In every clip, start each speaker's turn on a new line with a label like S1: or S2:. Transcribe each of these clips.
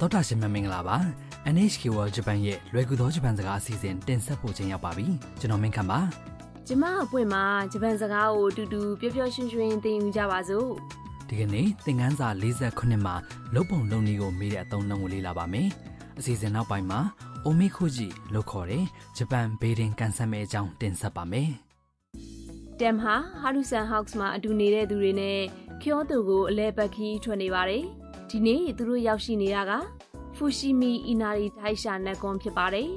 S1: ဒေါက်တာရှင်မမင်္ဂလာပါ NHK World Japan ရဲ့လွယ်ကူသောဂျပန်စကားအစီအစဉ်တင်ဆက်ဖို့ချိန်ရောက်ပါပြီကျွန်တော်မင်းခမ်းပါ
S2: ကျမအပွင့်မှာဂျပန်စကားကိုအတူတူပျော်ပျော်ရွှင်ရွှင်သင်ယူကြပါစို့
S1: ဒီကနေ့သင်ခန်းစာ48မှာလုံပုံလုံနည်းကိုမေးတဲ့အသုံးအနှုန်းကိုလေ့လာပါမယ်အစီအစဉ်နောက်ပိုင်းမှာ Omikoji လို့ခေါ်တဲ့ဂျပန်ဘေးဒင်ကန်ဆတ်မဲ့အကြောင်းတင်ဆက်ပါမယ်
S2: တမ်ဟာဟာရူဆန်ဟောက်စ်မှာအတူနေတဲ့သူတွေနဲ့ကျောတိုကိုအလဲပတ်ခီးထွက်နေပါတယ်ဒီနေ့သူတို့ရောက်ရှိနေတာကဖူရှိမီအီနာရီဒိုင်ရှာနက်ကွန်ဖြစ်ပါတယ်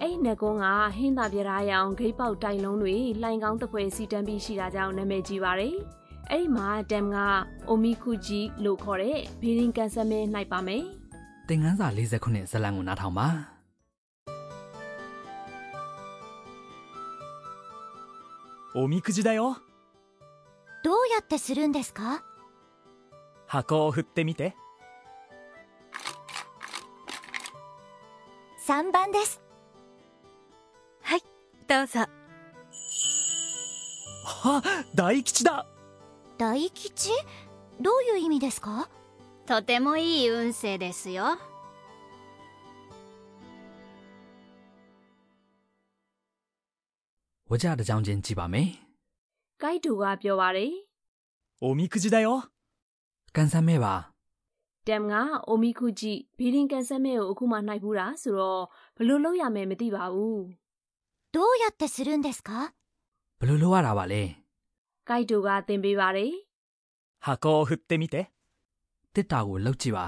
S2: အဲ့ဒီနက်ကွန်ကဟင်းသာပြရာရောင်ဂိတ်ပေါက်တိုင်လုံးတွေလှိုင်ကောင်းတစ်ဖွဲစီတန်းပြီးရှိတာကြောင့်နာမည်ကြီးပါတယ်အဲ့ဒီမှာတမ်ကအိုမီကူဂျီလို့ခေါ်တဲ့ဘေးရင်ကန်ဆတ်မဲနိုင်ပါမယ်
S1: သင်ခန်းစာ48ဇာတ်လမ်းကိုနားထောင်ပါ
S3: おみくじだよ
S4: どうやってするんですか
S3: 箱を振ってみて
S4: ?3 番です。はい、どうぞ。
S3: あ大吉だ
S4: 大吉どういう意味ですか
S5: とてもいい運勢ですよ
S1: ဝကြတစ်ကြောင်းချင်းကြည့်ပါမယ်
S2: ဂိုက်တူကပြောပါတယ်
S3: おみくじだよ
S1: ကန်ဆတ်မဲ့ပါ
S2: တမ်ကအိုမီကူဂျီဘီဒင်ကန်ဆတ်မဲကိုအခုမှနိုင်ဘူးတာဆိုတော့ဘယ်လို့လောက်ရမယ်မသိပါဘူး
S4: どうやってするんですか
S1: ဘယ်လိုလုပ်ရတာပါလဲ
S2: ဂိုက်တူကသင်ပေးပါတယ်
S3: 箱を振ってみて
S1: တစ်တာကိုလှုပ်ကြည့်ပါ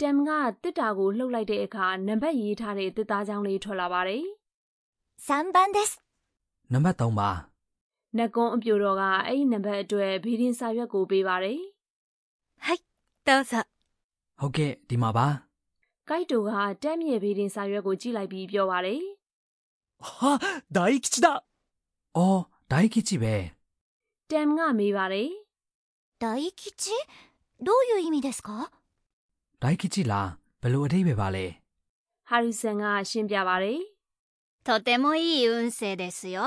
S2: တမ်ကတစ်တာကိုလှုပ်လိုက်တဲ့အခါနံပါတ်ရေးထားတဲ့တစ်သားချောင်းလေးထွက်လာပါတယ်
S4: 3番です。
S1: နံပါတ်3ပါ
S2: နက်ကွန်အပြိုတော်ကအဲ့ဒီနံပါတ်အတွက်ဘီဒင်စာရွက်ကိုပေးပါတယ်
S4: はい、どうぞ。
S1: ဟုတ်ကဲ့ဒီမှာပါ
S2: ဂိုက်တူကတမ်ရဲ့ဘီဒင်စာရွက်ကိုကြည့်လိုက်ပြီးပြောပါတယ်
S3: あ大吉だ
S1: ။အော်ဒိုင်းကစ်ကြီးပဲ
S2: တမ်ကမေးပါတယ်
S4: 大吉どういう意味ですか
S1: ။ဒိုင်းကစ်ကြီးလားဘယ်လိုအထိပ္ပယ်ပါလဲ
S2: ဟာရူဆန်ကရှင်းပြပါတယ်
S5: とてもいい運勢ですよ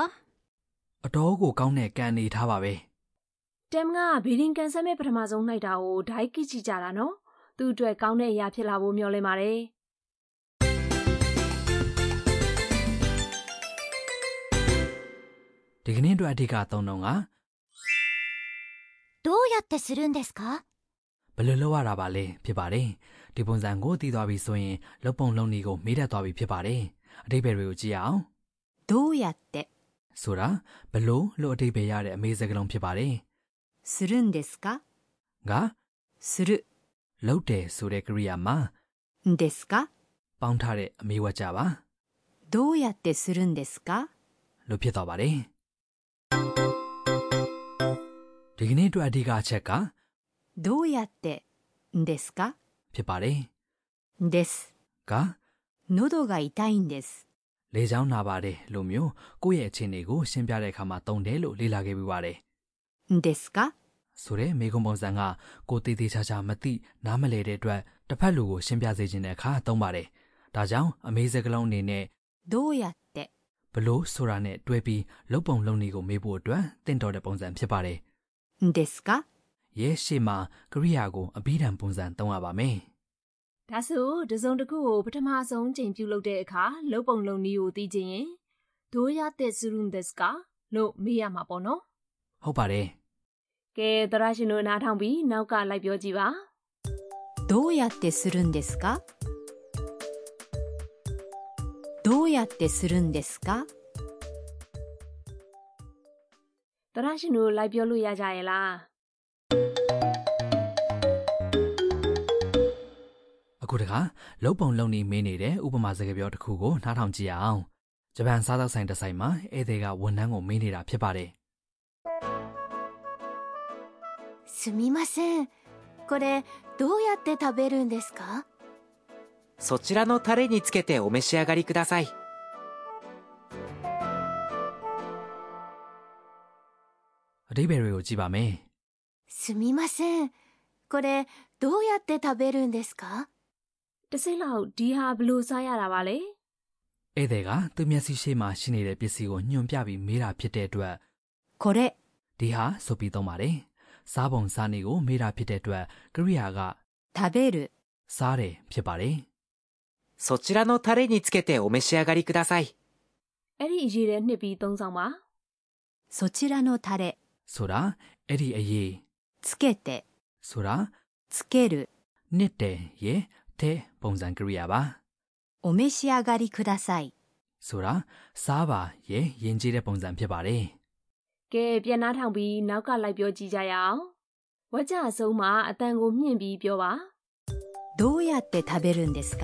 S1: ။အတော်ကိုကောင်းတဲ့ကံနေထားပါပဲ
S2: တမ်ကဘီဒင်ကန်ဆတ်မဲပထမဆုံးနှိုက်တာကိုဒိုက်ကိကြည့်ကြတာနော်သူ့အတွက်ကောင်းတဲ့အရာဖြစ်လာဖို့မျှော်လင့်ပါတယ်
S1: ။ဒီကနေ့အတွက်အဓိကအသုံးတော့က
S4: どうやってするんですか
S1: ဘယ်လိုလုပ်ရတာပါလဲဖြစ်ပါတယ်။ဒီပုံစံကိုသိသွားပြီဆိုရင်လုံပုံလုံနည်းကိုမေးတတ်သွားပြီဖြစ်ပါတယ်။အထိပ္ပယ်တွေကိုကြည့်ရအောင်
S6: どうやって
S1: ။ဆိုတာဘယ်လိုလို့အထိပ္ပယ်ရတဲ့အမေးစကားလုံးဖြစ်ပါတယ်
S6: するんですか
S1: ။က
S6: する
S1: လှုပ်တယ်ဆိုတဲ့ကရိယာမှာ
S6: んですか
S1: ပေါင်းထားတဲ့အမေးဝတ်ကြပါ
S6: どうやってするんですか
S1: လို့ဖြစ်သွားပါတယ်။ဒီကနေ့အတွက်အဓိကအချက်က
S6: どうやってんですか
S1: ဖြစ်ပါတယ်
S6: んです
S1: ။က
S6: 喉が痛いんです
S1: လေချောင်းနာပါတယ်လို့မျိုးကိုယ့်ရဲ့အခြေအနေကိုရှင်းပြတဲ့အခါမှာတုံတယ်လို့လေ့လာခဲ့ပြီးပါတယ်
S6: んですか
S1: ဆိုတဲ့မိဂုံပုံစံကကိုယ်တည်တည်ချာချာမသိနားမလည်တဲ့အတွက်တစ်ဖက်လူကိုရှင်းပြစေချင်တဲ့အခါသုံးပါတယ်ဒါကြောင့်အမေးစကလုံးအနေနဲ့
S6: どうやって
S1: ဘလို့ဆိုတာနဲ့တွဲပြီးလုံပုံလုံနည်းကိုမေးဖို့အတွက်တင့်တော်တဲ့ပုံစံဖြစ်ပါတယ်
S6: んですか
S1: ရဲရှေ့မှာကရိယာကိုအဘိဓမ္ပုံစံသုံးရပါမယ်
S2: ဒါဆိုတစုံတစ်ခုကိုပထမဆုံးချိန်ပြုလုပ်တဲ့အခါလုံပုံလုံနည်းကိုသိချင်ရင်ဒိုရတဲ့ဆူရုန်ဒက်စကာလို့မေးရမှာပေါ့နော်
S1: ဟုတ်ပါတယ်
S2: ။ကဲသရရှင်တို့နားထောင်ပြီးနောက်ကလိုက်ပြောကြည့်ပါ
S6: どうやってするんですかどうやってするんですか
S2: ။သရရှင်တို့လိုက်ပြောလို့ရကြရဲ့လား
S1: အခုတခါလုံပုံလုံနည်းမေးနေတဲ့ဥပမာစကားပြောတစ်ခုကိုနားထောင်ကြည့်ရအောင်ဂျပန်စားသောက်ဆိုင်တစ်ဆိုင်မှာဧည့်သည်ကဝန်ထမ်းကိုမေးနေတာဖြစ်ပါတယ်
S4: すみません。これ、どうやって食べるんですか
S7: そちらのタレにつけてお召し上がりください。
S1: အတိပ္ပယ်တွေကိုကြည့်ပါမယ်
S4: すみません。これ、どうやって食べるんですか
S2: ။တစ်စိတ်လောက်ဒီဟာဘယ်လို့စားရတာပါလဲ
S1: ။ဧည့်သည်ကသူမျက်စိရှိမှရှိနေတဲ့ပစ္စည်းကိုညွှန်ပြပြီးမေးတာဖြစ်တဲ့အတွက်
S6: これ
S1: ဒီဟာဆိုပြီးသုံးပါတယ်။စားပုံစားနည်းကိုမေးတာဖြစ်တဲ့အတွက်ကရိယာက
S6: 食べる
S1: စားတယ်ဖြစ်ပါတယ်
S7: そちらのタレにつけてお召し上がりください。
S2: အဲ့ဒီအရေးတဲ့နှစ်ပြီးသုံးဆောင်ပါ
S6: そちらのタレ、
S1: ဆိုတာအဲ့ဒီအရေး
S6: つけて、
S1: ဆိုတာ
S6: つける、
S1: နှစ်တယ်ရဲ့တဲ့ပုံစံကရိယာပါ
S6: お召し上がりください。
S1: ဆိုတာစားပါရဲ့ယဉ်ကျေးတဲ့ပုံစံဖြစ်ပါတယ်
S2: ကဲပြန်နှားထောင်ပြီးနောက်ကလိုက်ပြောကြည့်ကြရအောင်ဝါကြအဆုံးမှာအတန်ကိုမြင့်ပြီးပြောပါ
S6: どうやって食べるんですか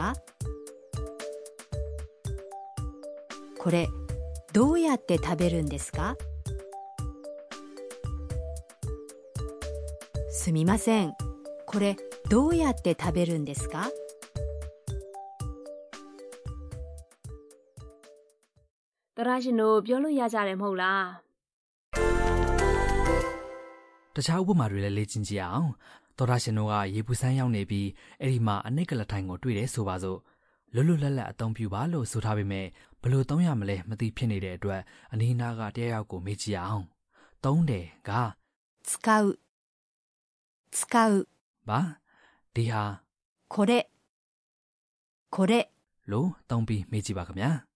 S6: これ、どうやって食べるんですかすみません。これ、どうやって食べるんですか
S2: တရရှင်တို့ပြောလို့ရကြတယ်မဟုတ်လား
S1: တခြားဥပမာတွေလည်းလေ့ကျင့်ကြည့်အောင်သောတာရှင်တို့ကရေပူစမ်းရောက်နေပြီးအဲ့ဒီမှာအနိကလထိုင်ကိုတွေ့တယ်ဆိုပါစို့လွတ်လွတ်လပ်လပ်အသုံးပြုပါလို့ဆိုထားပေမဲ့ဘယ်လို့သုံးရမလဲမသိဖြစ်နေတဲ့အတွက်အနီးနားကတရားရောက်ကိုမေ့ကြည့်အောင်သုံးတယ်က
S6: 使う。使う。
S1: ပါဒီဟာ
S6: これ。これ、
S1: လို့သုံးပြီးမေ့ကြည့်ပါခင်ဗျာ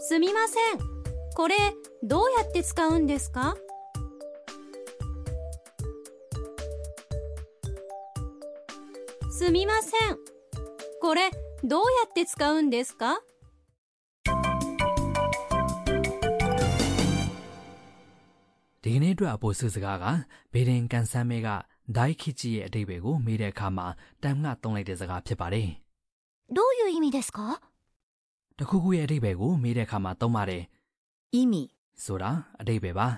S8: すみません。これ、どうやって使うんですかすみません。これ、どうやって使うんですか
S1: ဒီကနေ့အတွက်အပေါ်စုစကားကဘေဒင်ကန်ဆမ်းမဲကဒိုက်ခိကြီးရဲ့အတိတ်ပဲကိုမေ့တဲ့အခါမှာတမ်ငှသုံးလိုက်တဲ့စကားဖြစ်ပါတယ်
S4: どういう意味ですか
S1: တခုခုရဲ့အတိတ်ပဲကိုမေးတဲ့အခါမှာသုံးပါတယ်
S6: 意味、
S1: ဆိုတာအတိတ်ပဲပါ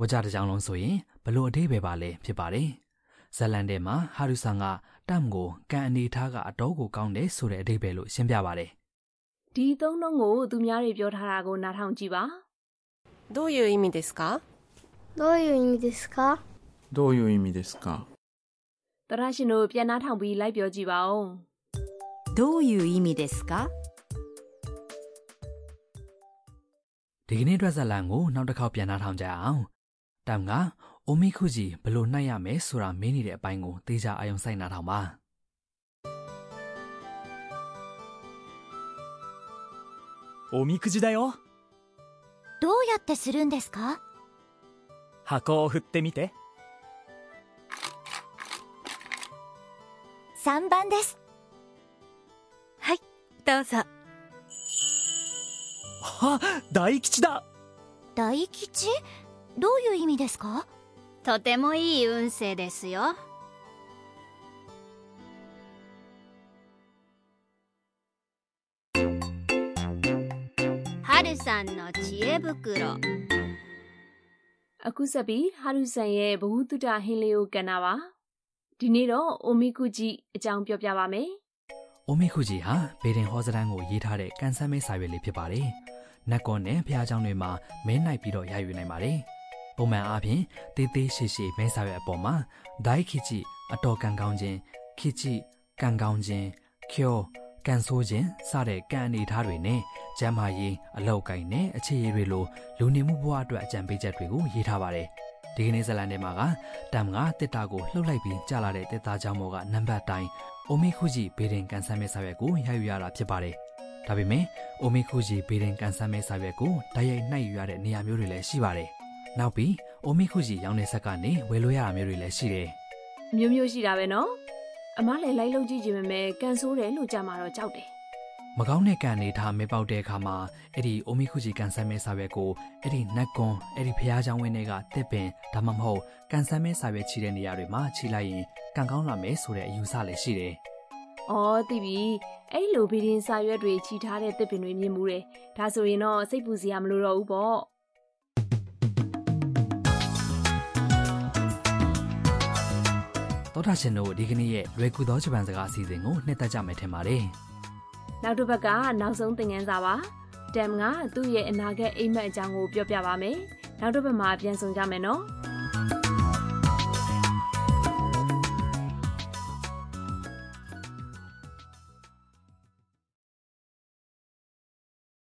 S1: ဝါကြတစ်ကြောင်လုံးဆိုရင်ဘလို့အတိတ်ပဲပါလဲဖြစ်ပါတယ်ဇာလန်ထဲမှာဟာရူဆန်ကတမ်ကိုကန်အနေထားကအတော်ကိုကောင်းတယ်ဆိုတဲ့အတိတ်ပဲလို့ရှင်းပြပါတယ်
S2: ဒီသုံးလုံးကိုသူများတွေပြောထားတာကိုနားထောင်ကြည့်ပါ
S9: どういう意味ですか
S10: どういう意味ですか
S11: どういう意味ですか
S2: တရရှင်တို့ပြန်နားထောင်ပြီးလိုက်ပြောကြည့်ပါဦး
S6: どういう意味ですか
S1: ဒီကနေ့အတွက်ဇာလန်ကိုနောက်တစ်ခေါက်ပြန်နှားထောင်ကြအောင်တမ်ကအိုမီခူဂျီဘလို့နှိုက်ရမယ်ဆိုတာမင်းနေတဲ့အပိုင်းကိုသေချာအာရုံစိုက်နှားထောင်ပါ
S3: おみくじだよ
S4: どうやってするんですか
S3: 箱を振ってみて
S4: ?3 番です。
S8: どうぞ。
S3: はあ大吉だ
S4: 大吉どういう意味ですか
S5: とてもいい運勢ですよ春さんの知恵袋
S2: အခုဆက်ပြီးဟာရူဆန်ရဲ့ဘဝတုဒ္ဒဟင်းလေးကိုကန်တာပါဒီနေ့တော့အိုမီကူဂျီအကြောင်းပြောပြပါမယ်
S1: အိုမီခူဂျီဟာဘေဒင်ဟောစတန်းကိုရေးထားတဲ့ကန်ဆမ်းမဲစာရွက်လေးဖြစ်ပါတယ်နတ်ကွန်နဲ့ဖျားเจ้าတွေမှာမဲနိုင်ပြီးတော့ရယူနိုင်ပါတယ်ပုံမှန်အားဖြင့်တေးသေးရှိရှိမဲစာရွက်အပေါ်မှာဒိုက်ခိချိအတော်ကန်ကောင်းခြင်းခိချိကန်ကောင်းခြင်းချောကန်ဆိုးခြင်းစတဲ့ကံအနေထားတွေနဲ့ကျမ်းမာရေးအလောက်ကိုင်းနဲ့အခြေအရေတွေလိုလူနေမှုဘဝအတွက်အကြံပေးချက်တွေကိုရေးထားပါတယ်ဒီကနေ့ဇတ်လန်ထဲမှာကတမ်ကတစ်တာကိုလှုပ်လိုက်ပြီးကြာလာတဲ့တစ်တာကြောင့်မောကနံပါတ်တိုင်း အိုမီခူဂျီဘေဒင်ကန်ဆမ်းမဲစာရွက်ကိုရယူရတာဖြစ်ပါတယ်။ဒါပေမဲ့အိုမီခူဂျီဘေဒင်ကန်ဆမ်းမဲစာရွက်ကိုတိုက်ရိုက်နှိုက်ယူရတဲ့နေရာမျိုးတွေလည်းရှိပါတယ်။နောက်ပြီးအိုမီခူဂျီရောင်းတဲ့ဆက်ကနေဝယ်လို့ရတာမျိုးတွေလည်းရှိတယ်
S2: အမျိုးမျိုးရှိတာပဲနော်အမလည်းလိုက်လုပ်ကြည့်ခြင်းပဲမဲ့ကန်ဆိုးတယ်လို့ကြမှာတော့ကြောက်တယ်
S1: ။မကောင်းတဲ့ကံအနေထားမဲပေါက်တဲ့အခါမှာအဲ့ဒီအိုမီခူဂျီကန်ဆမ်းမဲစာရွက်ကိုအဲ့ဒီနတ်ကွန်အဲ့ဒီဖျားချောင်းဝင်းတွေကတစ်ပင်ဒါမှမဟုတ်ကန်ဆမ်းမဲစာရွက်ချီတဲ့နေရာတွေမှာချီလိုက်ရင်ကံကောင်းလာမယ်ဆိုတဲ့အယူဆလည်းရှိတယ်။
S2: အော်သိပြီအဲ့လိုဗီဒင်စာရွက်တွေချီထားတဲ့တစ်ပင်တွေမြင်မှုတယ်ဒါဆိုရင်တော့စိတ်ပူစရာမလိုတော့ဘူးပေါ့
S1: သောတာရှင်တို့ဒီကနေ့ရဲ့လွယ်ကူသောဂျပန်စကားအစီအစဉ်ကိုနှစ်သက်ကြမယ်ထင်ပါတယ်
S2: နောက်တစ်ပတ်ကနောက်ဆုံးသင်ခန်းစာပါတမ်ကသူ့ရဲ့အနာဂတ်အိမ်မက်အကြောင်းကိုပြောပြပါမယ်နောက်တစ်ပတ်မှာပြန်ဆောင်ကြမယ်နော်